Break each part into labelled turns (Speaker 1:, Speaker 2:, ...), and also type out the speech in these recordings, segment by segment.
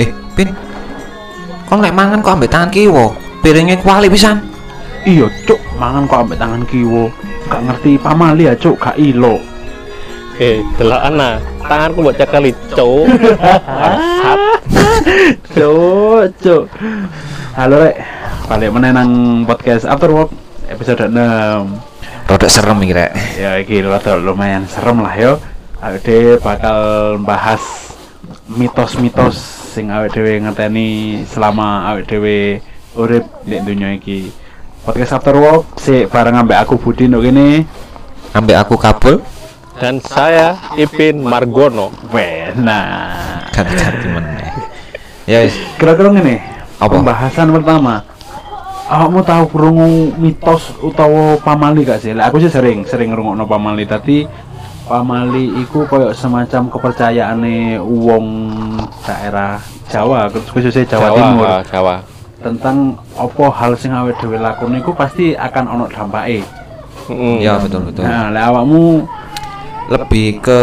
Speaker 1: Eh, Pin. Kon lek mangan kok ambek tangan kiwa. Piringnya kuali pisan.
Speaker 2: Iya, cuk, mangan kok ambek tangan kiwo. Gak ngerti pamali ya, cuk, gak ilo.
Speaker 3: Eh, delokan ah. Tanganku mbok cekeli, cuk.
Speaker 2: Cuk, cuk. Halo, Rek. Balik meneh nang podcast After Work episode 6.
Speaker 1: Rodok serem iki rek.
Speaker 2: Ya iki rada lumayan serem lah yo. Awake dhewe bakal bahas mitos-mitos sing awake dhewe ngerteni selama awake dhewe urip di dunia iki. Podcast After Work sik bareng ambek aku Budi nduk kene.
Speaker 1: Ambek aku kabel
Speaker 3: Dan saya Ipin Margono.
Speaker 2: Weh, nah.
Speaker 1: ganti-ganti meneh. Ya wis.
Speaker 2: kira-kira ngene
Speaker 1: Apa?
Speaker 2: pembahasan pertama awakmu tahu krungu mitos utawa pamali gak sih Lah, aku sih sering sering ngrungokno pamali tapi pamali iku koyo semacam kepercayaane wong daerah Jawa khususnya Jawa, Timur
Speaker 3: ah, Jawa.
Speaker 2: tentang opo hal sing awet dhewe lakoni iku pasti akan ono dampake
Speaker 3: Mm.
Speaker 1: Ya betul betul.
Speaker 2: nah lek awakmu
Speaker 1: Lebih ke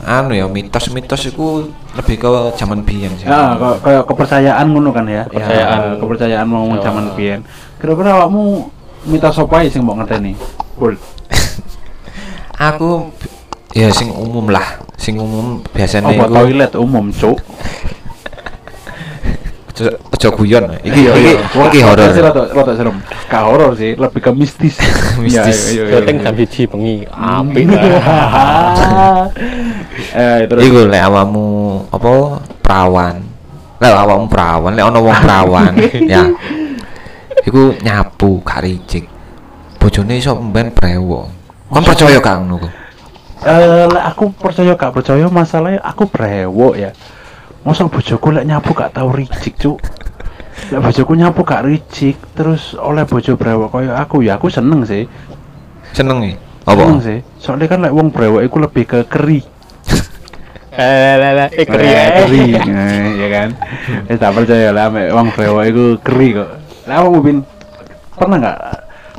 Speaker 2: Iya,
Speaker 1: anu ya mitos-mitos iku lebih ke zaman biyen sih.
Speaker 2: Ya, kayak kayak kepercayaan ngono kan ya.
Speaker 3: Kepercayaan.
Speaker 2: Ya, kepercayaan mau
Speaker 3: Ya.
Speaker 2: zaman biyen. Kira-kira awakmu mitos apa ae sing mbok ngerteni? Cool.
Speaker 1: Aku ya sing umum lah. Sing umum biasanya iku
Speaker 2: Apa toilet umum, Cuk?
Speaker 1: Ojo- ojo guyon. Iki iki
Speaker 2: Wah,
Speaker 1: iki horor.
Speaker 2: sih Iya, rada rada serem. Ka horor sih, lebih ke mistis.
Speaker 1: Mistis.
Speaker 2: Ya, iya, iya,
Speaker 3: Syuting
Speaker 2: iya.
Speaker 3: jam 1 bengi. Apik.
Speaker 2: Hahaha. Eh, terus
Speaker 1: Iku lek awakmu apa perawan. Lek awakmu perawan, lek ana wong perawan ya. Iku nyapu gak rijik. Bojone iso mben brewo. Kon percaya gak ngono ku?
Speaker 2: eh lek aku percaya gak percaya masalahnya aku brewok ya. Masa bojoku lek nyapu gak tau rijik, Cuk. Lek bojoku nyapu gak rijik, terus oleh bojo brewok koyo aku ya aku seneng sih.
Speaker 1: Seneng e. Apa?
Speaker 2: Seneng sih. Soalnya kan lek wong brewok iku lebih ke keri.
Speaker 3: Eh, le, le, eh, keri, eh.
Speaker 2: keri. Eh, ya kan. Eh tak percaya lah mek wong brewok iku keri kok. Lah wong Ubin pernah nggak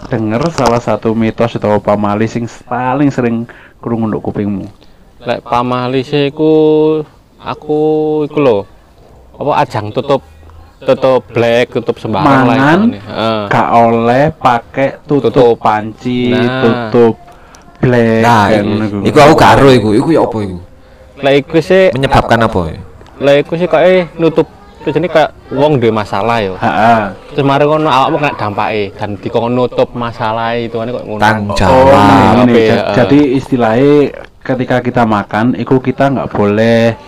Speaker 2: denger salah satu mitos atau pamali sing paling sering krungu nduk kupingmu?
Speaker 3: Lek pamali sih iku aku iku lho. Apa ajang tutup tutup black, tutup sembarang lah Eh,
Speaker 2: Mangan.
Speaker 3: itu nih.
Speaker 1: Ah.
Speaker 3: Heeh.
Speaker 2: Gak oleh pakai tutup,
Speaker 3: Tutup.
Speaker 2: panci,
Speaker 3: Nah.
Speaker 2: tutup black
Speaker 1: Nah,
Speaker 2: kan,
Speaker 1: iku-
Speaker 2: ngono
Speaker 1: iku aku gak ero iku. Iku ya apa iku?
Speaker 3: Lek iku sih
Speaker 1: Menyebabkan apa? ya?
Speaker 3: Lah iku sih kayak eh, nutup terus ini kayak wong duwe masalah yo.
Speaker 2: Ha, ha.
Speaker 3: Terus mari ngono awakmu kena dampake dan dikon nutup masalah itu kan kok ngono.
Speaker 1: Tanggung
Speaker 2: Oh,
Speaker 1: jawab.
Speaker 2: ngene, ngene.
Speaker 3: Apa ya,
Speaker 2: Ja-
Speaker 3: eh.
Speaker 2: jadi istilahnya ketika kita makan, itu kita nggak boleh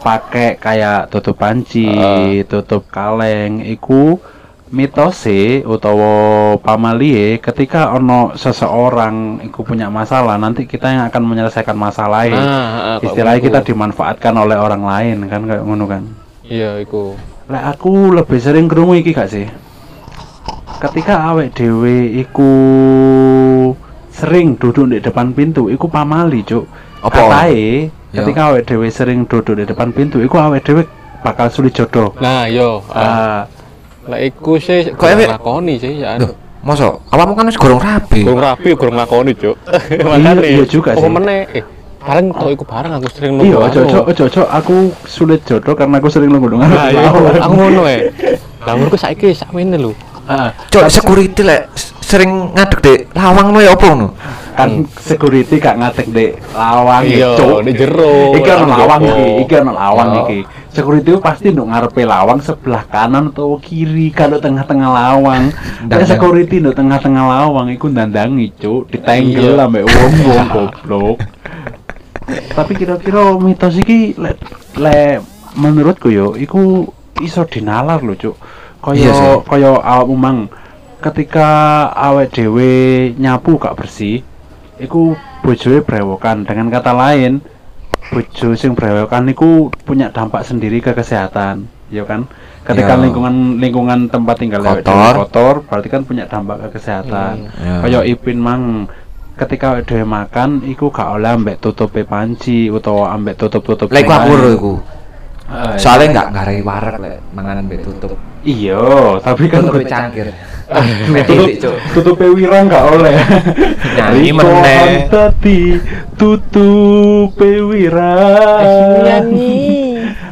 Speaker 2: pakai kayak tutup panci,
Speaker 3: Eh.
Speaker 2: tutup kaleng, iku mitose utawa pamalie ketika ono seseorang iku punya masalah nanti kita yang akan menyelesaikan masalah
Speaker 3: Nah, heeh, kok
Speaker 2: ah, istilahnya
Speaker 3: ngono.
Speaker 2: kita dimanfaatkan oleh orang lain kan kayak ngono kan
Speaker 3: Iya iku.
Speaker 2: Lek aku lebih sering krungu iki gak sih? Ketika awek dhewe iku sering duduk di depan pintu, iku pamali, Cuk.
Speaker 1: Apa?
Speaker 2: Katae,
Speaker 1: Ya.
Speaker 2: ketika awek dhewe sering duduk di depan pintu, iku awek dhewe bakal sulit jodoh.
Speaker 3: Nah, yo. eh,
Speaker 2: Ah,
Speaker 3: Lah iku sih
Speaker 1: Kok ewe-
Speaker 3: kurang lakoni sih ya.
Speaker 1: Loh, masa awakmu kan wis gorong rabi.
Speaker 3: Kurang rapi, kurang lakoni, Cuk.
Speaker 2: iya juga
Speaker 3: Apa
Speaker 2: sih.
Speaker 3: meneh? Eh, bareng tau iku bareng aku sering
Speaker 2: Ah, iya,
Speaker 3: nunggu.
Speaker 2: ojo ojo ojo ojo, aku sulit jodoh karena aku sering lungo
Speaker 3: Nah, iya, iku. aku ngono eh. Bangunku saiki sakmene lho.
Speaker 2: Ah.
Speaker 1: Cok, security lek s- sering ngadeg di lawang lo ya apa ngono?
Speaker 2: kan security gak ngatek dek lawang
Speaker 3: Hmm. Iya,
Speaker 2: Cuk.
Speaker 3: di jero,
Speaker 2: iki ono
Speaker 3: lawang
Speaker 2: lawang
Speaker 3: jopo.
Speaker 2: iki iki ono lawang
Speaker 3: Iya.
Speaker 2: iki security itu pasti nduk ngarepe lawang sebelah kanan atau kiri kalau tengah-tengah lawang dan
Speaker 1: Dandang.
Speaker 2: security nduk tengah-tengah lawang iku dandangi cuk ditanggel
Speaker 3: Iya.
Speaker 2: ambek wong-wong goblok tapi kira-kira mitos iki le, le menurutku yo iku iso dinalar lho cuk
Speaker 1: Iya sih.
Speaker 2: kaya kaya awakmu mang ketika awet dhewe nyapu gak bersih iku bojoe brewokan dengan kata lain bojo sing brewokan iku punya dampak sendiri ke kesehatan ya kan ketika
Speaker 1: Iya.
Speaker 2: lingkungan lingkungan tempat tinggal awake dhewe
Speaker 1: Kotor. Hmm,
Speaker 2: kotor berarti kan punya dampak ke kesehatan
Speaker 1: Iya.
Speaker 2: kaya ipin mang ketika awake dhewe makan iku gak oleh ambek tutupe panci utawa ambek tutup-tutup
Speaker 1: Lek iku aku ero iku.
Speaker 2: Ah, iya.
Speaker 1: Soalnya enggak ngarai warak lek manganan mbek tutup.
Speaker 2: iya tapi kan
Speaker 1: Tutup cangkir. Ah, Mbek titik,
Speaker 2: tutup
Speaker 3: gitu,
Speaker 1: Cuk.
Speaker 2: tutupe wirang gak oleh
Speaker 1: Nyanyi
Speaker 2: Riko
Speaker 1: meneh.
Speaker 3: Eh, iya
Speaker 2: Antati tutupe wirang Kak,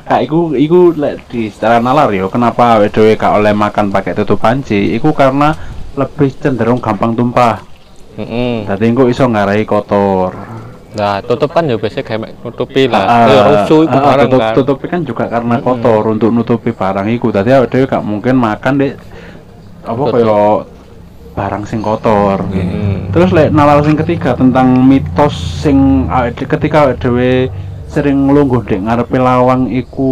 Speaker 2: Nah, iku iku lek di secara nalar yo kenapa awake dhewe gak oleh makan pakai tutup panci iku karena lebih cenderung gampang tumpah
Speaker 3: Mm-mm.
Speaker 2: dadi engko iso ngarai kotor
Speaker 3: Nah, tutup kan ya biasanya kayak mek nutupi lah.
Speaker 2: Ah,
Speaker 3: ya rusuh itu
Speaker 2: ah,
Speaker 3: barang
Speaker 2: tutup,
Speaker 3: kan.
Speaker 2: tutupi kan juga karena kotor untuk nutupi barang iku dadi awake dhewe gak mungkin makan dek apa
Speaker 3: Tutup.
Speaker 2: kaya barang sing kotor
Speaker 3: Mm.
Speaker 2: terus lek nalar sing ketiga tentang mitos sing awake dhewe- ketika awake dhewe sering nglungguh dek ngarepe lawang iku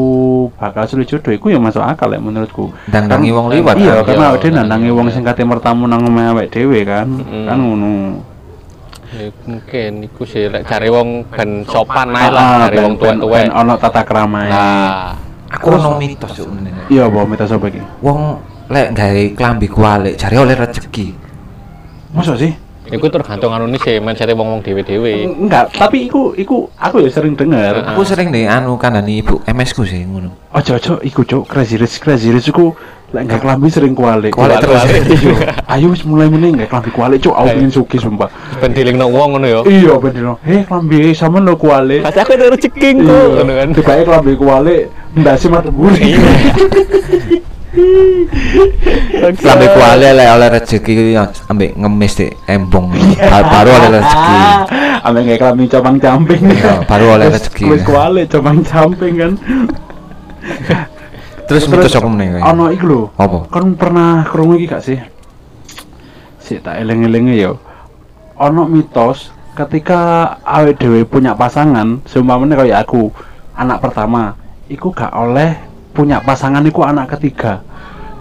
Speaker 2: bakal sulit jodoh iku ya masuk akal lek menurutku
Speaker 1: Dandangi
Speaker 2: Kan-
Speaker 1: wong liwat.
Speaker 2: iya
Speaker 1: kan?
Speaker 3: kan?
Speaker 2: karena
Speaker 3: Iya,
Speaker 2: awake dhewe
Speaker 3: iya,
Speaker 2: nandangi
Speaker 3: iya.
Speaker 2: wong sing kate mertamu nang omahe awake dhewe kan
Speaker 3: Mm-mm.
Speaker 2: kan ngono
Speaker 3: Ya, mungkin iku sih lek cari wong ben sopan ae
Speaker 2: Ah,
Speaker 3: lah, cari
Speaker 2: ben-
Speaker 3: wong
Speaker 2: ben-
Speaker 3: tua-tua.
Speaker 2: ben ono tata kramae
Speaker 3: Nah,
Speaker 1: Aku ono mitos yo ngene.
Speaker 2: iya apa mitos apa iki
Speaker 1: Wong lek gawe klambi kualik jare oleh rezeki.
Speaker 2: Masa sih?
Speaker 3: iku tergantung anu nih sih, mencari wong-wong dhewe-dhewe.
Speaker 2: Enggak, tapi iku iku aku ya sering dengar.
Speaker 1: Aku sering nih anu kandani ibu MS ku sih ngono.
Speaker 2: Ojo ojo iku cuk crazy rich crazy rich iku lek enggak klambi sering kualik.
Speaker 1: Kualik terus.
Speaker 2: Iya. Ayo wis mulai meneh enggak klambi kualik cuk aku
Speaker 3: Ayo.
Speaker 2: pengen sugih sumpah.
Speaker 3: Ben dilingno wong ngono
Speaker 1: Oh.
Speaker 3: ya.
Speaker 2: Iya bener. Heh klambi eh, sama lo kualik.
Speaker 3: Pas aku itu rezeki kok ngono kan.
Speaker 2: Tiba-tiba klambi kualik ndak sih mati buri.
Speaker 1: Klambi kualik lek oleh rezeki ya, ambek ngemis di embong. Ba- Baru
Speaker 2: Ah,
Speaker 1: oleh rezeki.
Speaker 2: Ame enggak ah. klambi cabang camping.
Speaker 1: Iya, baru oleh rezeki.
Speaker 2: Wis kualik cabang camping kan.
Speaker 1: Terus mitos apa meneh?
Speaker 2: Ono iku lho.
Speaker 1: Apa?
Speaker 2: Kan pernah krungu iki gak sih? Sik tak eling-elinge ya. Ono mitos ketika awake dhewe punya pasangan, seumpamane kaya aku, anak pertama, iku gak oleh punya pasangan iku anak ketiga.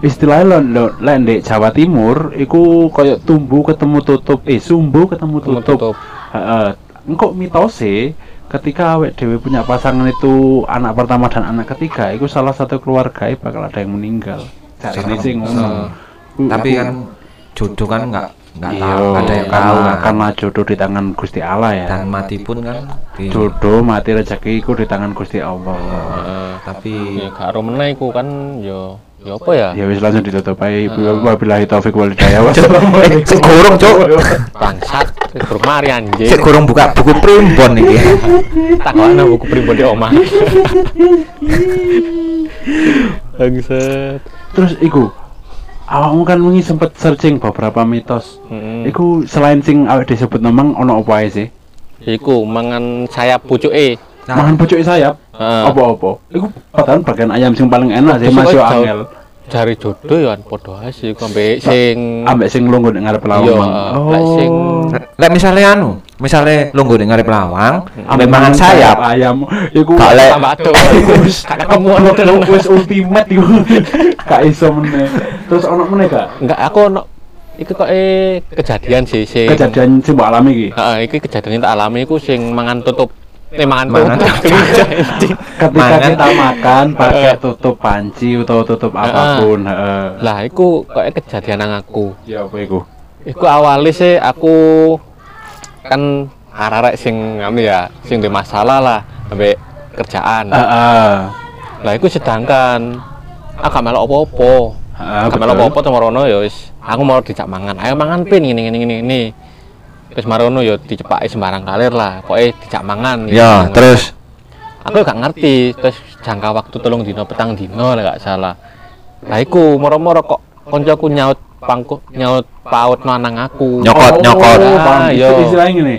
Speaker 2: Istilahnya lo, lo lek ndek Jawa Timur iku kaya tumbuh ketemu tutup, eh sumbu ketemu
Speaker 3: Ketemu
Speaker 2: tutup.
Speaker 3: tutup.
Speaker 2: Heeh. Engko mitose ketika awake dhewe punya pasangan itu anak pertama dan anak ketiga iku salah satu keluarga bakal ada yang meninggal. Jarine
Speaker 1: Serem.
Speaker 2: sih ngono.
Speaker 3: Serem.
Speaker 2: Ku-
Speaker 1: Tapi
Speaker 2: aku-
Speaker 1: kan jodoh kan enggak enggak
Speaker 2: Iya,
Speaker 1: tahu, nggak ada yang tahu
Speaker 2: karena,
Speaker 1: kan.
Speaker 2: karena jodoh di tangan Gusti Allah ya.
Speaker 1: Dan mati pun kan di-
Speaker 2: Jodoh mati rezeki iku di tangan Gusti Allah.
Speaker 3: Heeh.
Speaker 1: tapi
Speaker 3: Ya gak aro meneh iku kan ya ya apa ya?
Speaker 2: Ya wis langsung ditutup ae. Wabillahi taufik wal hidayah. Eh, Wassalamualaikum.
Speaker 1: Sik gorong, Cuk.
Speaker 3: Bangsat, terus mari
Speaker 1: Sik
Speaker 3: anjing.
Speaker 1: gorong buka buku primbon iki.
Speaker 3: Takokno buku primbon di omah. Bangsat.
Speaker 2: Terus iku awakmu kan wingi sempet searching beberapa mitos.
Speaker 3: Heeh.
Speaker 2: Iku selain sing awake disebut nemang ono apa ae sih?
Speaker 3: Iku mangan sayap pucuke.
Speaker 1: Nah,
Speaker 2: Mangan pucuk sayap.
Speaker 3: Heeh.
Speaker 2: Apa-apa. Iku padahal bagian ayam sing paling enak sih
Speaker 3: Terus
Speaker 2: Mas
Speaker 3: kok
Speaker 2: yo
Speaker 3: jauh-
Speaker 2: angel.
Speaker 3: Jari jodoh ya padha ae sih kok ambek sing
Speaker 2: Ambek sing lungguh nek ngarep lawang. Oh.
Speaker 3: Iya, lek sing-
Speaker 1: lek misale anu, misale lungguh ning ngarep lawang,
Speaker 3: Hmm.
Speaker 1: ambek
Speaker 2: Ambek
Speaker 1: mangan sayap.
Speaker 2: ayam. Iku
Speaker 1: Gak lek.
Speaker 3: tambah aduh.
Speaker 2: wis
Speaker 3: Gak ketemu ono
Speaker 2: Wis- wis ultimate iku. Gak iso meneh. Terus ono meneh gak?
Speaker 3: Enggak, aku ono iku kok eh, kejadian sih sing
Speaker 2: Kejadian sing mbok alami iki.
Speaker 3: Heeh, iki kejadian yang tak alami iku sing mangan tutup. Eh mangan
Speaker 1: Mangan
Speaker 3: tutup. Kelinci, anjing.
Speaker 2: Ketika
Speaker 1: Mangan.
Speaker 2: kita makan pakai tutup panci atau tutup apapun, heeh.
Speaker 3: lah, iku kok kejadian nang aku.
Speaker 2: Ya apa iku?
Speaker 3: Iku awalnya sih aku kan arek sing nganu ya, sing di masalah lah ambek kerjaan.
Speaker 2: Heeh.
Speaker 3: Lah iku sedangkan aku gak melok apa-apa.
Speaker 1: Ah,
Speaker 2: Heeh,
Speaker 3: Gak
Speaker 2: betul.
Speaker 3: melok apa-apa sama Rono ya wis. Aku mau dijak mangan. Ayo mangan pin ngene ngene ngene ngene. Terus Marono ya dicepaki sembarang kalir lah. Pokoke dijak mangan. gitu.
Speaker 1: Ya, terus
Speaker 3: aku gak ngerti terus jangka waktu tolong dino petang dino lah gak salah lah iku moro-moro kok koncoku nyaut pangku nyaut paut no anang aku
Speaker 1: Nyokot,
Speaker 2: Oh,
Speaker 1: nyokot.
Speaker 2: paham.
Speaker 3: Ah,
Speaker 2: Isti-
Speaker 3: yo.
Speaker 2: Istilahnya ngene.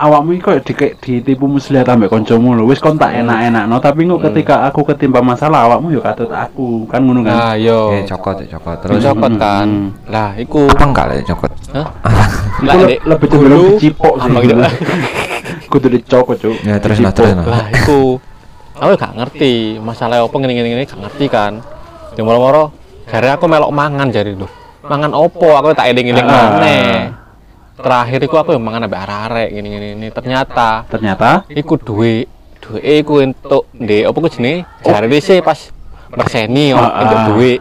Speaker 2: Awakmu iki koyo dikek ditipu muslihat ambek kancamu lho. Wis kon tak
Speaker 3: Hmm.
Speaker 2: enak-enakno, tapi kok ketika aku ketimpa masalah awakmu yo katut aku. Kan ngono kan.
Speaker 3: nah yo
Speaker 1: eh cokot, cokot. Terus
Speaker 3: dicokot kan
Speaker 2: Hmm.
Speaker 3: lah iku
Speaker 1: apa enggak lek cokot?
Speaker 3: Hah?
Speaker 1: Apa?
Speaker 3: lah
Speaker 2: Iku le-
Speaker 3: Dek,
Speaker 2: lebih cenderung
Speaker 3: dulu-
Speaker 2: dicipok sih.
Speaker 3: Apa gitu?
Speaker 2: Kudu dicokot, Cuk.
Speaker 1: Ya, terus, nah,
Speaker 2: Dicipok.
Speaker 1: terus, nah.
Speaker 3: lah iku aku gak ngerti masalah apa ngene ngene ngene gak ngerti kan yo moro-moro jare aku melok mangan jare lho mangan opo aku tak eling-eling
Speaker 2: Ah.
Speaker 3: maneh terakhir iku aku yang mangan ambek arek-arek ngene ngene ngene. ternyata
Speaker 2: Ternyata
Speaker 3: iku duwe duwe iku entuk ndek apa ku jenenge jarene sih pas merseni
Speaker 2: Ah,
Speaker 3: oh,
Speaker 2: ah.
Speaker 3: entuk duwe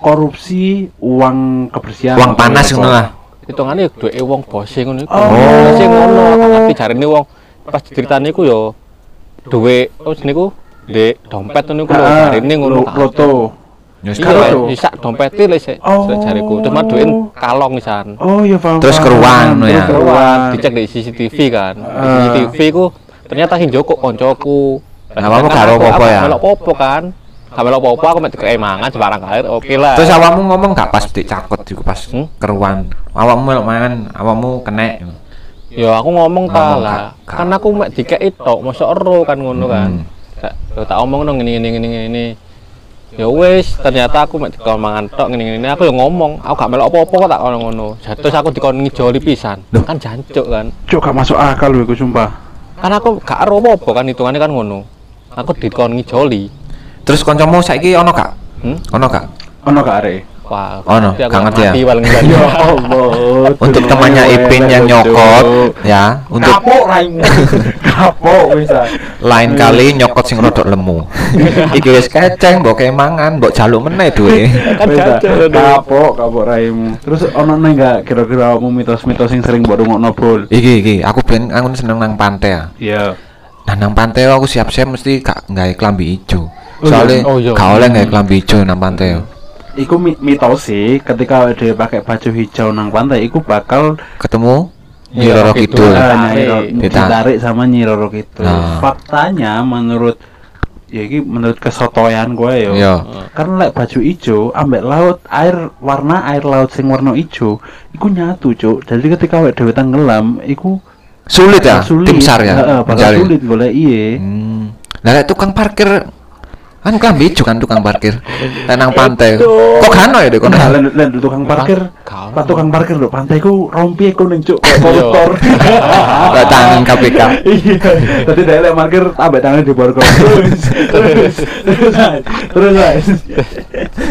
Speaker 2: korupsi uang kebersihan.
Speaker 1: Uang panas ngono lah.
Speaker 3: hitungane duwe wong bose ngono iku
Speaker 2: Oh.
Speaker 3: Bose ngono tapi jarene wong pas ceritane iku yo duwe apa jenenge ku ndek dompet ngono
Speaker 2: gitu.
Speaker 3: iku
Speaker 2: Ah,
Speaker 3: lho jarene ngono kan.
Speaker 2: Lo- Loto.
Speaker 1: Nyus
Speaker 3: Iya,
Speaker 1: karo.
Speaker 2: Loto.
Speaker 3: isak dompete lho sik
Speaker 2: Oh.
Speaker 3: jariku. Terus mah duwe kalong isan.
Speaker 2: Oh ya paham.
Speaker 1: Terus
Speaker 2: paham.
Speaker 1: keruan, no,
Speaker 2: Terus
Speaker 1: ya.
Speaker 2: keruan.
Speaker 3: Dicek di CCTV kan. Di
Speaker 2: Ah.
Speaker 3: CCTV ku ternyata sing Joko koncoku.
Speaker 1: Nah, awakmu gak ro apa-apa ya?
Speaker 3: Melok popo kan. Gak melok popo aku mek dikei mangan sebarang kalir oke lah.
Speaker 1: Terus awakmu ngomong gak pas dik cakut iku pas
Speaker 3: Hmm?
Speaker 1: keruan. Awakmu melok mangan, awakmu kena.
Speaker 3: Ya aku ngomong ta
Speaker 1: Ngomong,
Speaker 3: lah.
Speaker 1: Kak.
Speaker 3: Kan aku mek dikei tok mosok ero kan ngono kan.
Speaker 1: Hmm.
Speaker 3: Tak- yo tak omong dong ngene ngene ngene ngene. Ya wis, ternyata aku mek dikon mangan tok ngene ngene. Aku yo ngomong, aku gak melok apa-apa kok tak kono ngono. Terus aku dikon ngijoli pisan. Kan jancuk kan.
Speaker 2: Cuk gak masuk akal lho iku sumpah.
Speaker 3: Kan aku gak ero apa-apa kan hitungannya kan ngono. Aku dikon ngijoli.
Speaker 1: Terus kancamu saiki ono gak?
Speaker 3: Hmm?
Speaker 1: Ono gak?
Speaker 2: Ono gak arek?
Speaker 3: Wah,
Speaker 1: Oh, no.
Speaker 3: nanti aku
Speaker 1: Gak ngerti ya?
Speaker 3: mati paling enggak.
Speaker 2: Allah.
Speaker 1: Untuk temannya Ipin yang nyokot ya, untuk
Speaker 2: Kapok raimu. Kapok wis. ah.
Speaker 1: lain kali nyokot sing rodok lemu. Iki wis keceng, mbok kei mangan, mbok jaluk meneh duwe.
Speaker 3: Kan
Speaker 2: Wis, ah.
Speaker 3: jancuk. aduh.
Speaker 2: Kapok kapok raimu. Terus ono nang gak kira-kira kamu mitos-mitos sing sering mbok rungokno bol?
Speaker 1: Iki iki, aku ben aku seneng nang pantai. ya.
Speaker 2: Iya.
Speaker 1: Nah, nang pantai aku siap-siap mesti gak nggawe klambi ijo.
Speaker 2: Oh, iya.
Speaker 1: Soalnya
Speaker 3: Oh, iya.
Speaker 1: gak oleh nggawe klambi ijo nang pantai.
Speaker 2: Iku mi- mitos sih ketika dia pakai baju hijau nang pantai iku bakal
Speaker 1: Ketemu Nyi
Speaker 3: Iya,
Speaker 1: Roro
Speaker 3: gitu.
Speaker 1: Kidul.
Speaker 3: Ah.
Speaker 2: eh,
Speaker 3: Ditarik.
Speaker 2: nyiro-
Speaker 1: Ditarik.
Speaker 2: ditarik sama nyiroro gitu.
Speaker 1: Nah.
Speaker 2: Faktanya menurut ya iki menurut kesotoyan gue yo.
Speaker 1: Iya.
Speaker 2: Karena lek baju ijo ambek laut air warna air laut sing warna ijo iku nyatu, Cuk. Jadi ketika awake dhewe tenggelam iku
Speaker 1: Sulit ya,
Speaker 2: bakal sulit.
Speaker 1: tim sar ya.
Speaker 2: Heeh, bakal
Speaker 1: mencari.
Speaker 2: sulit iya. golek iye.
Speaker 1: Hmm. Lah lek tukang parkir kan klambi ijo kan tukang parkir. Lek nang pantai.
Speaker 3: Itu.
Speaker 1: Kok gak ono ya dek kono?
Speaker 2: Nah, lan lan tukang parkir.
Speaker 3: Kau.
Speaker 2: Pak tukang parkir lho, pantai ku rompi kuning cuk, kayak
Speaker 3: Iya.
Speaker 2: koruptor.
Speaker 1: Lek tangan KPK.
Speaker 2: Iya. Tadi dari lek parkir ambek tangan di borgol. Terus terus terus Mas. terus Mas.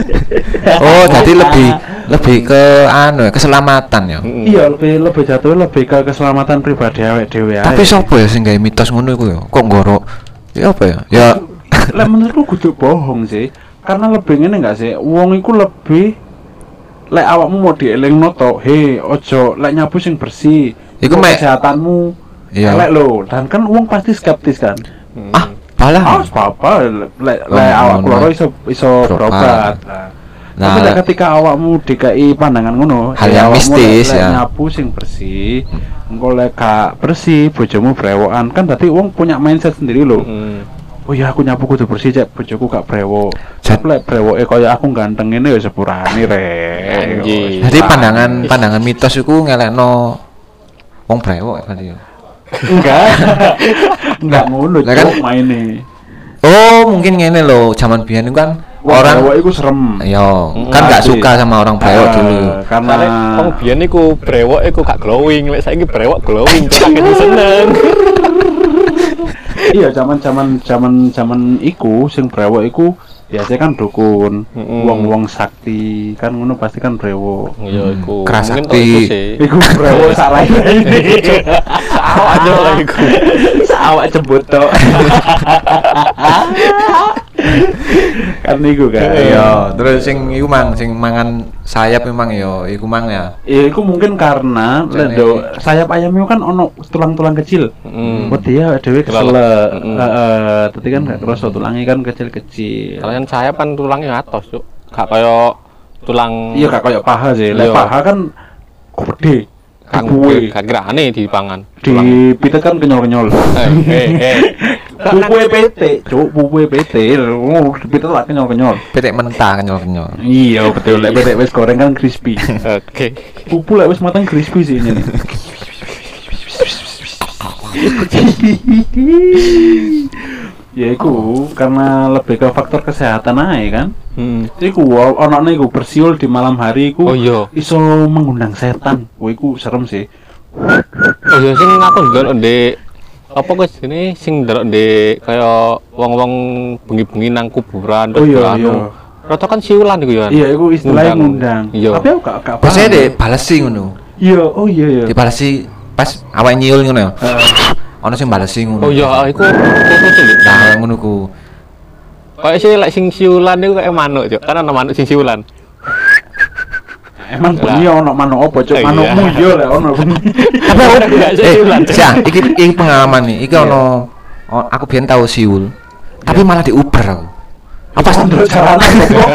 Speaker 1: Oh, jadi lebih lebih ke anu ya, keselamatan ya.
Speaker 3: Mm-mm.
Speaker 2: Iya, lebih lebih jatuh lebih ke keselamatan pribadi awake dhewe ae.
Speaker 1: Tapi sopo ya sing gawe mitos ngono iku ya? Kok ngorok? Ya apa ya? Ya
Speaker 2: Lah menurutku kudu bohong sih. Karena lebih ngene enggak sih? Wong iku lebih lek awakmu mau dielingno to, he ojo lek nyabu sing bersih.
Speaker 1: Iku
Speaker 2: Iku
Speaker 1: mek-
Speaker 2: kesehatanmu.
Speaker 1: Iya.
Speaker 2: Lek lho, dan kan wong pasti skeptis kan.
Speaker 1: ah,
Speaker 2: Ah,
Speaker 1: balah.
Speaker 2: apa lek
Speaker 1: Oh,
Speaker 2: lek awakku
Speaker 1: ngono.
Speaker 2: loro iso iso
Speaker 1: Berobat.
Speaker 2: berobat. Nah, tapi
Speaker 1: Nah,
Speaker 2: lek ketika awakmu DKI pandangan ngono,
Speaker 1: Hal yang
Speaker 2: ya awakmu
Speaker 1: mistis,
Speaker 2: lek- lek
Speaker 1: ya. Hmm.
Speaker 2: Nyapu sing bersih, engko lek gak bersih, bojomu brewokan kan tadi wong punya mindset sendiri lho.
Speaker 3: Mm.
Speaker 2: Oh iya aku nyapu kudu bersih cek bojoku gak brewo.
Speaker 1: Jad-
Speaker 2: Tapi lek brewoke kaya aku ganteng ngene ya sepurane rek.
Speaker 3: Anjing.
Speaker 1: Jadi pandangan pandangan mitos iku ngelekno wong brewok ya berarti ya.
Speaker 2: enggak. enggak ngono
Speaker 1: Lah kan-
Speaker 2: cuk maine.
Speaker 1: Oh, mungkin ngene lho, zaman biyen iku kan
Speaker 2: Wong
Speaker 1: orang
Speaker 2: brewoke iku serem.
Speaker 1: Yo,
Speaker 3: Mm,
Speaker 1: kan gak
Speaker 2: pasti.
Speaker 1: suka sama orang brewok
Speaker 2: Ah,
Speaker 1: dulu.
Speaker 2: Karena
Speaker 3: Soalnya wong biyen iku brewok iku gak glowing, lek saiki brewok glowing, kok aku seneng.
Speaker 2: iya zaman zaman zaman zaman iku sing brewok iku biasanya kan dukun
Speaker 3: Mm-mm.
Speaker 2: wong wong sakti kan ngono pasti kan brewok
Speaker 3: Ya iku.
Speaker 1: Keras
Speaker 3: Mungkin
Speaker 1: hati.
Speaker 3: kok iku sih.
Speaker 2: iku brewok sarai ini
Speaker 3: Awak aja lah iku.
Speaker 2: awak jembut tok kan iku kan iya
Speaker 1: Yo, terus sing iku mang sing mangan sayap memang yo, iku mang ya.
Speaker 2: Ya, iku mungkin karena
Speaker 1: Jane-
Speaker 2: lendo sayap ayamnya kan ono tulang-tulang kecil.
Speaker 3: Mm.
Speaker 2: Wedi ya dhewe kesel.
Speaker 3: Kelelep. Mm.
Speaker 2: Heeh, tapi kan gak kerasa tulangnya kan kecil-kecil.
Speaker 3: Kalian saya pan tulangnya atos, Cuk. Gak kaya tulang
Speaker 2: Iya gak koyo paha sih. Lek
Speaker 3: Iya.
Speaker 2: paha kan gede.
Speaker 3: kang
Speaker 2: Kuwe.
Speaker 3: gak kirane dipangan.
Speaker 2: Di
Speaker 3: Tulang.
Speaker 2: pitet kan kenyol-kenyol.
Speaker 3: Eh, eh, eh.
Speaker 2: Bukuwe PT, cuk, bukuwe PT. Oh, di pitet lah kenyol-kenyol.
Speaker 1: Petek mentah kenyal-kenyal.
Speaker 2: Iya, betul. Lek pitet wis goreng kan crispy.
Speaker 3: Oke.
Speaker 2: Pupu lek wis matang crispy sih ini. ya iku karena lebih ke faktor kesehatan aja kan
Speaker 3: Hmm.
Speaker 2: iku wo- ono iku bersiul di malam hari iku
Speaker 3: Oh iya.
Speaker 2: iso mengundang setan Wah, iku serem sih
Speaker 3: Oh iya sing aku ndelok ndek apa guys ini sing ndelok ndek kaya wong-wong bengi-bengi nang kuburan
Speaker 2: Oh, iya,
Speaker 3: dolan.
Speaker 2: iya.
Speaker 3: Rata kan siulan iku ya.
Speaker 2: Iya, itu istilahnya ngundang.
Speaker 3: Iya.
Speaker 2: Tapi aku gak gak
Speaker 1: Pas
Speaker 2: paham.
Speaker 1: deh balesi ngono.
Speaker 2: Iya, oh iya iya.
Speaker 1: Dibalesi pas awake nyiul ngono ya.
Speaker 2: Ah.
Speaker 1: Ono sing balesi ngono.
Speaker 3: Oh iya, iku iku sing ndek
Speaker 1: Nah, kayak ngono ku.
Speaker 3: Kayak sih lek sing siulan itu kayak manuk, Cuk. Kan ana manuk sing siulan.
Speaker 2: Emang bengi ono manuk apa, Cuk?
Speaker 3: Iya.
Speaker 2: Manukmu iya lah ono bengi.
Speaker 1: Tapi aku
Speaker 3: Nggak sih,
Speaker 1: eh,
Speaker 3: siulan.
Speaker 1: Syah, iki iki
Speaker 2: Iya.
Speaker 1: pengalaman nih. Iki ono o- aku biyen tau siul. Tapi malah diuber aku. Apa
Speaker 2: Pas ndro jaranan kok.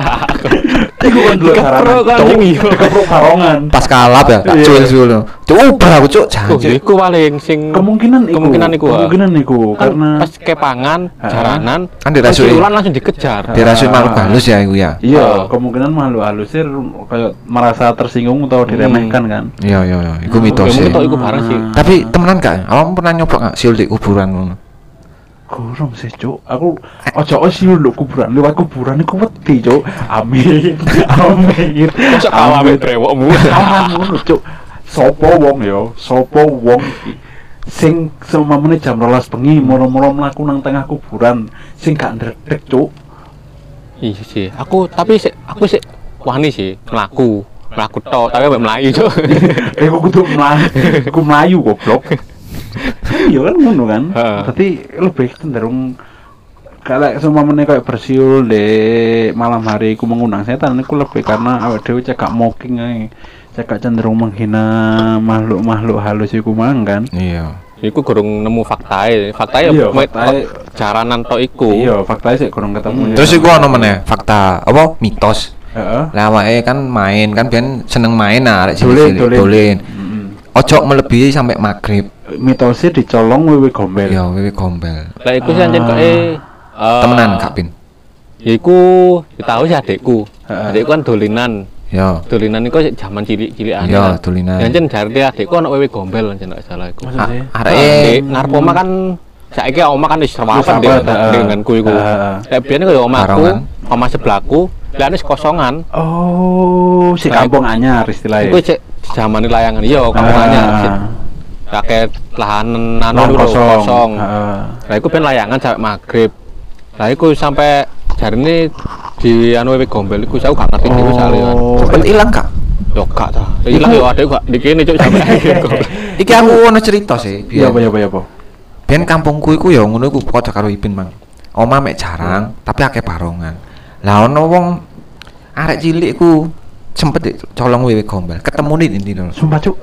Speaker 2: Iku kan ndro jaranan.
Speaker 3: Keprok kan,
Speaker 2: Cuk,
Speaker 3: iya.
Speaker 2: keprok barongan.
Speaker 1: pas kalap ya tak
Speaker 2: Iya.
Speaker 1: cuil-cuil. Cuk ubar aku cuk
Speaker 3: Kok
Speaker 1: jangan.
Speaker 3: iku paling sing
Speaker 2: Kemungkinan iku.
Speaker 3: Kemungkinan iku, ah.
Speaker 2: Kemungkinan iku
Speaker 3: kan
Speaker 2: karena
Speaker 3: pas kepangan
Speaker 2: Ah.
Speaker 3: jaranan
Speaker 1: Kan dirasuki.
Speaker 3: penciulan langsung dikejar
Speaker 1: Dirasuin makhluk halus ya iku ya.
Speaker 2: Iya,
Speaker 3: Ah.
Speaker 2: kemungkinan makhluk halusir kayak merasa tersinggung atau diremehkan kan.
Speaker 1: Iya iya iya, iku mitos.
Speaker 3: Ya,
Speaker 1: sih.
Speaker 3: mitos Hmm. iku bareng sih Ah.
Speaker 1: Tapi temenan gak? Awakmu pernah nyoba gak siul di kuburan ngono?
Speaker 2: Kurang sih, Cuk. Aku ojo ojo sih lu kuburan, lewat kuburan iku wedi, Cuk. Amin. Amin. Amin.
Speaker 3: trewokmu
Speaker 2: Aman ngono, Cuk. Sopo wong yo, sopo wong iki sing semamane jam 12 bengi moro-moro mlaku nang tengah kuburan sing gak ndredeg, Cuk.
Speaker 3: Iya sih, aku tapi sik- aku sih wani sih melaku melaku tok tapi ambek melayu cok.
Speaker 2: Eh, kok kudu melayu, kudu melayu goblok. Iya kan ngono kan.
Speaker 3: Heeh.
Speaker 2: Berarti lebih cenderung kalau semua menikah kayak bersiul di malam hari aku mengundang setan aku lebih karena awak dewi cekak mocking ae. cekak cenderung menghina makhluk-makhluk halus iku mang kan
Speaker 1: Iya.
Speaker 3: Iku gurung nemu faktae, faktae
Speaker 2: Iya,
Speaker 3: ya met-
Speaker 2: faktae.
Speaker 3: jaranan tok iku.
Speaker 2: iya faktanya sih kurang ketemu ya.
Speaker 1: Oh. Terus iku ono meneh fakta apa mitos.
Speaker 2: Heeh.
Speaker 1: Lah awake kan main kan biyen seneng main nah arek
Speaker 2: Dolen,
Speaker 1: cilik-cilik
Speaker 2: dolen.
Speaker 1: dolen.
Speaker 2: Mm-mm.
Speaker 1: Ojo melebihi sampai maghrib.
Speaker 2: mitosnya dicolong wewe gombel
Speaker 1: Ya wewe gombel.
Speaker 3: Lah iku sih anjen kok eh
Speaker 1: Temenan Kak Pin.
Speaker 3: Ya iku ya tahu sih adekku.
Speaker 2: Heeh.
Speaker 3: Adekku kan dolinan.
Speaker 1: Ya.
Speaker 3: Dolinan iku sik jaman cilik-cilikan.
Speaker 1: Iya, dolinan.
Speaker 3: Ya anjen jarite adekku ono wewe gombel anjen nek salah iku.
Speaker 2: Maksudnya? Hmm.
Speaker 1: A-
Speaker 3: Arek
Speaker 1: Ah, Arek
Speaker 3: narkoma kan saiki oma kan wis
Speaker 2: Wis
Speaker 3: rapat
Speaker 2: rapat, heeh.
Speaker 3: denganku iku.
Speaker 2: Heeh.
Speaker 3: Lah biyen kaya omaku,
Speaker 1: Barongan.
Speaker 3: oma sebelahku, lah wis kosongan.
Speaker 2: oh si
Speaker 3: Nah,
Speaker 2: kampung anyar istilahnya
Speaker 3: Iku cek zaman layangan. Iya,
Speaker 2: Ah.
Speaker 3: kampungannya sik rakyat lahan anu
Speaker 2: Lorong
Speaker 3: dulu,
Speaker 2: kosong.
Speaker 3: kosong.
Speaker 2: Heeh.
Speaker 3: Lah iku pengen layangan sampai maghrib. Lah iku sampai jari ini di anu wewe gombel iku saya gak ngerti dhewe sale kan.
Speaker 2: Oh.
Speaker 1: Cepet ilang Kak.
Speaker 3: Yo gak ta. Ya Ilang yo adek gak dikene cuk sampai akhir gombel.
Speaker 1: Iki aku ono cerita sih. biyen.
Speaker 2: Iya, apa, iya, apa, iya, apa?
Speaker 1: Biyen kampungku iku ya ngono iku padha karo Ipin, Mang. Oma mek jarang, tapi akeh barongan. Lah ono wong arek cilik iku sempet di- colong wewe gombel. Ketemune di ndi lho.
Speaker 2: Sumpah, Cuk.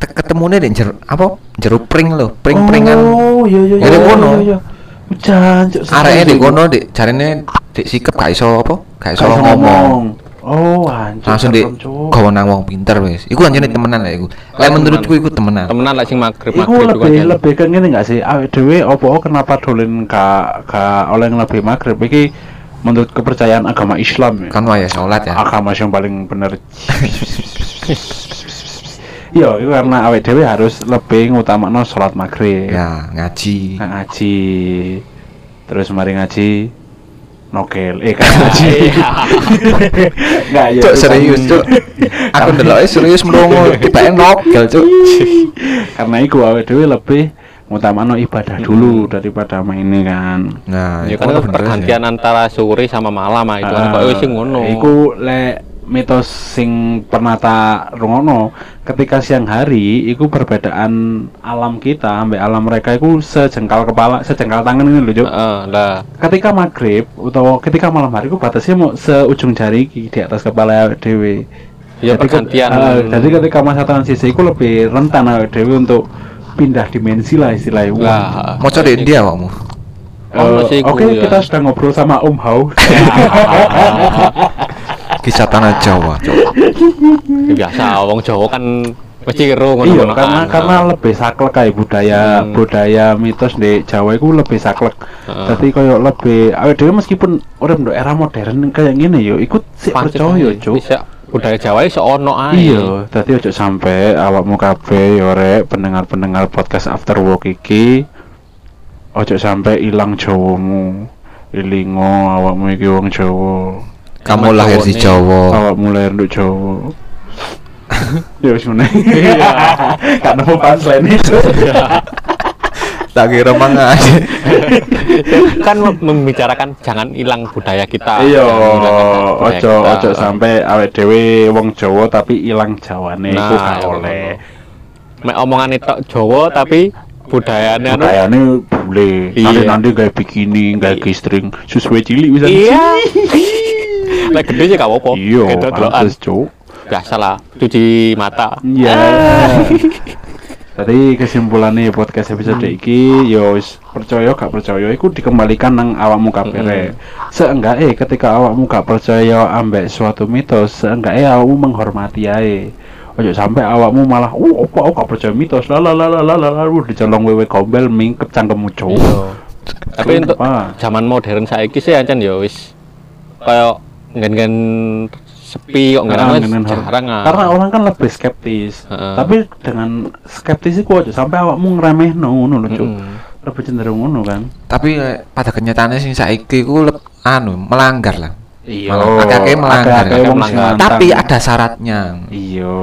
Speaker 1: Te- Ketemune di jero apa? Jero pring lho, pring-pringan.
Speaker 2: Oh, iya iya iya.
Speaker 1: Ya, di
Speaker 2: iya,
Speaker 1: kono.
Speaker 2: iya, iya. Hujan, Cuk.
Speaker 1: Areke di kono di jarene di sikep gak iso apa? Gak iso
Speaker 2: Kalau ngomong.
Speaker 1: ngomong.
Speaker 2: Oh, anjir.
Speaker 1: Langsung di
Speaker 2: serem, Cuk.
Speaker 1: gawa nang wong pinter wis. Iku anjene temenan lah iku. Lah
Speaker 3: Temenan.
Speaker 1: menurutku iku temenan.
Speaker 3: Nah, Temenan lah sing
Speaker 2: Iku
Speaker 3: maghrib
Speaker 1: gitu kan
Speaker 3: maghrib iku
Speaker 2: lebih
Speaker 1: ya.
Speaker 3: anjen.
Speaker 2: lebih ke ngene enggak sih? Awake dhewe opo kenapa dolen ka ka oleh lebih maghrib iki menurut kepercayaan agama Islam ya.
Speaker 1: Kan waya salat ya.
Speaker 2: agama yang paling bener. Iya, itu karena awake dhewe harus lebih ngutamakno sholat maghrib.
Speaker 1: Ya, ngaji.
Speaker 2: Kang Aji terus mari ngaji nokel eh Kang Aji
Speaker 3: Iya.
Speaker 2: nggak ya
Speaker 1: Cuk
Speaker 2: itu
Speaker 1: serius cuk.
Speaker 2: kan-
Speaker 1: Aku ndeloknya serius mlongo, tibake nogel cuk.
Speaker 2: karena iku awake dhewe lebih utamano ibadah dulu daripada main ini kan
Speaker 1: Nah,
Speaker 3: Ya
Speaker 1: itu
Speaker 3: kan
Speaker 1: ono
Speaker 3: itu
Speaker 1: bener
Speaker 3: pergantian antara sore sama malam ah itu kan kok wis ngono.
Speaker 2: Eh, iku le mitos sing pernah tak rungono ketika siang hari iku perbedaan alam kita ambek alam mereka iku sejengkal kepala sejengkal tangan ini lho Cuk.
Speaker 3: Heeh, lah.
Speaker 2: ketika maghrib atau ketika malam hari ku batasnya mau seujung jari iki di atas kepala awake dhewe.
Speaker 3: Ya,
Speaker 2: Jadi ke-
Speaker 3: pergantian.
Speaker 2: eh, jadi ketika masa transisi ku lebih rentan awake dhewe untuk pindah dimensi lah istilahnya. Wah.
Speaker 3: Lah,
Speaker 1: Mau cari India kamu?
Speaker 2: Eh,
Speaker 3: ono sih iku,
Speaker 2: Oke,
Speaker 3: ya. Iya,
Speaker 2: kita sudah ngobrol sama Om Hao.
Speaker 1: Kisah tanah Jawa. Cuk.
Speaker 3: Ya biasa wong Jawa kan mesti kan. ro ngono
Speaker 2: iya, karena karena lebih saklek kayak budaya
Speaker 3: Hmm. Ah.
Speaker 2: budaya mitos di Jawa itu lebih saklek.
Speaker 3: Heeh.
Speaker 2: Jadi koyo lebih awake dhewe meskipun urip ndok era modern kayak ngene yo ikut sik percaya, Cuk.
Speaker 3: Bisa budaya Jawa iso ono ae.
Speaker 2: Iya, tadi ojo sampai awakmu kabeh yo rek pendengar-pendengar podcast After Work iki ojo sampai ilang Jawamu. Ilingo awakmu iki wong Jawa.
Speaker 1: Kamu lahir di Jawa.
Speaker 2: Awakmu lahir nduk Jawa. Ya wis meneh.
Speaker 3: Iya.
Speaker 2: Kan mau punchline itu.
Speaker 1: Oh, Tak kira mangan.
Speaker 3: kan mem- membicarakan jangan hilang budaya kita.
Speaker 2: Iya,
Speaker 3: Jangan hilangkan budaya
Speaker 2: ojo
Speaker 3: kita.
Speaker 2: ojo sampai awake dhewe wong Jawa tapi ilang Jawane iku
Speaker 3: Nah,
Speaker 2: gak oleh.
Speaker 3: Mek omongan itu Jawa tapi budayane anu.
Speaker 2: Kayaknya boleh
Speaker 3: Iya.
Speaker 2: nanti nanti kayak bikini kayak gistring sesuai cilik bisa
Speaker 3: Iya. Lek gede sih gak apa-apa.
Speaker 2: iya
Speaker 3: Gitu doan.
Speaker 2: pantes cuk
Speaker 3: Biasalah cuci mata.
Speaker 2: iya Jadi kesimpulannya podcast episode iki ya wis percaya gak percaya iku dikembalikan nang awakmu kabeh. Seenggake ketika awakmu gak percaya ambek suatu mitos, seenggake awakmu menghormati ae. Ojo sampai awakmu malah uh apa aku gak percaya mitos. La la la la la la la wuh, dicolong wewe gombel mingkep cangkemmu cowok.
Speaker 3: Iya. tapi untuk
Speaker 2: Kenapa?
Speaker 3: zaman modern saiki sih ancen ya wis kayak ngen-ngen sepi kok
Speaker 2: Jarang,
Speaker 3: ngen-ngen
Speaker 2: Nah, ngen-ngen
Speaker 3: jarang ah.
Speaker 2: karena orang kan lebih skeptis
Speaker 3: Heeh.
Speaker 2: tapi dengan skeptis itu aja sampai awakmu ngeremeh ngono lho Cuk.
Speaker 3: Mm-mm.
Speaker 2: lebih cenderung ngono kan
Speaker 1: tapi eh, pada kenyataannya sing saiki ku lep- anu melanggar lah
Speaker 2: iya
Speaker 1: Malah akeh-akeh melanggar.
Speaker 2: akeh-akeh wong sing nantang.
Speaker 1: tapi ada syaratnya
Speaker 2: iya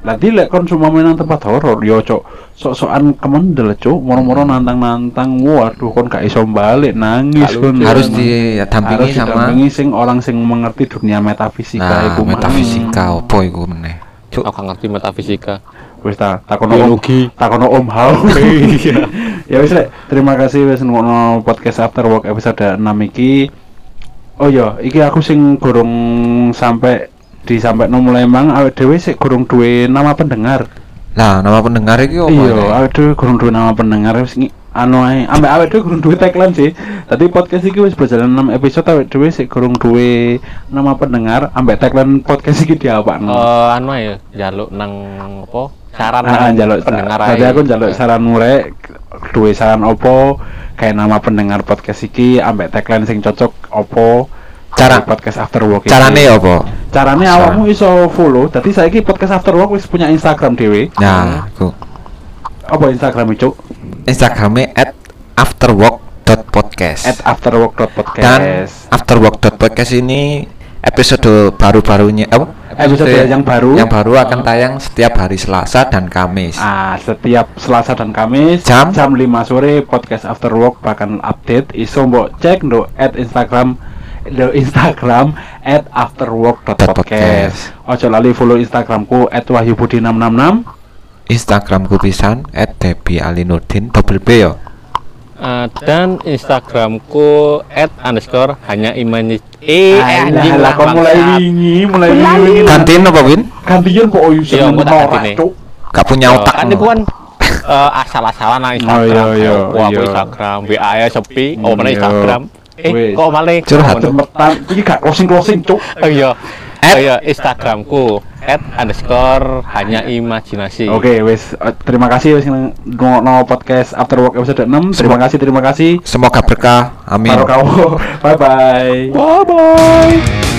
Speaker 2: nanti lek kon cuma mainan tempat horor yo cok sok-sokan kemendel cok moro-moro nantang-nantang waduh kon gak iso balik nangis
Speaker 3: Gak
Speaker 2: kon
Speaker 3: lucu.
Speaker 1: harus
Speaker 2: Emang.
Speaker 1: didampingi
Speaker 2: harus
Speaker 1: sama
Speaker 2: didampingi sing orang sing mengerti dunia metafisika
Speaker 1: nah
Speaker 2: iku mang.
Speaker 1: metafisika apa iku meneh cuk
Speaker 3: aku gak ngerti metafisika
Speaker 2: wis ta takono om takono om hao ya wis Rek. terima kasih wis ngono podcast after work episode 6 iki oh iya iki aku sing gorong sampai di sampai nomor lemang awet dewe sik gorong duwe nama pendengar
Speaker 1: nah nama pendengar iki apa
Speaker 2: iya
Speaker 1: Nek?
Speaker 2: awet dewe gorong duwe nama pendengar wis ngi- anu ae ambek awet dewe gorong duwe tagline sih tadi podcast iki wis berjalan 6 episode awet dewe sik gorong duwe nama pendengar ambek tagline podcast iki diapakno
Speaker 3: Eh, anu ya jaluk nang apa saran
Speaker 2: Ah,
Speaker 3: nang
Speaker 2: njaluk
Speaker 3: pendengar
Speaker 2: Tadi
Speaker 3: ae.
Speaker 2: aku njaluk saranmu rek, duwe saran opo kayak nama pendengar podcast iki ambek tagline sing cocok opo
Speaker 1: Cara-
Speaker 2: Di podcast after work iki.
Speaker 1: carane apa
Speaker 2: carane
Speaker 1: Cara.
Speaker 2: awakmu iso follow dadi saiki podcast after work wis punya Instagram dhewe
Speaker 1: nah iku
Speaker 2: apa Instagram cuk
Speaker 1: instagramnya at afterwork.podcast
Speaker 2: at afterwork.podcast
Speaker 1: dan afterwork.podcast ini episode baru-barunya apa?
Speaker 2: Episode yang baru.
Speaker 1: yang baru akan tayang setiap hari Selasa dan Kamis
Speaker 2: Ah, setiap Selasa dan Kamis
Speaker 1: Jam?
Speaker 2: 5 sore podcast After Work bakal update. Iso mbok cek ndo at Instagram do Instagram at afterwork.podcast. Ojo lali follow Instagramku at wahyubudi666.
Speaker 1: Instagramku pisan at Debbie Alinudin double B yo
Speaker 3: Eh, dan Instagramku at underscore hanya imani eh anjing
Speaker 2: Alah,
Speaker 3: lah
Speaker 2: kon mulai
Speaker 3: bangsat.
Speaker 2: wingi, mulai wingi.
Speaker 1: gantiin apa Win?
Speaker 2: Gantian kok oh, oyu
Speaker 3: Iya,
Speaker 2: seneng
Speaker 3: aku tak
Speaker 2: norak,
Speaker 3: gantine.
Speaker 2: Cuk.
Speaker 1: gak punya
Speaker 3: Oh,
Speaker 1: otak
Speaker 3: kan
Speaker 1: no.
Speaker 3: iku kan eh, asal-asalan nang Instagram.
Speaker 2: Oh, iya, iya,
Speaker 3: Wah, aku
Speaker 2: iya. Hmm,
Speaker 3: Instagram, WA ya sepi, oh mana
Speaker 2: Iya.
Speaker 3: Instagram. Eh,
Speaker 2: Wis.
Speaker 3: kok malah
Speaker 1: Curhat.
Speaker 3: Oh,
Speaker 2: Cemetan, iki gak closing-closing, Cuk.
Speaker 3: Oh iya.
Speaker 1: At-
Speaker 3: Oh iya, Instagramku at underscore hanya imajinasi.
Speaker 2: Oke, wes terima kasih wis ngono podcast After Work episode 6. Terima kasih, terima kasih.
Speaker 1: semoga berkah amin
Speaker 2: Bye bye.
Speaker 3: Bye bye.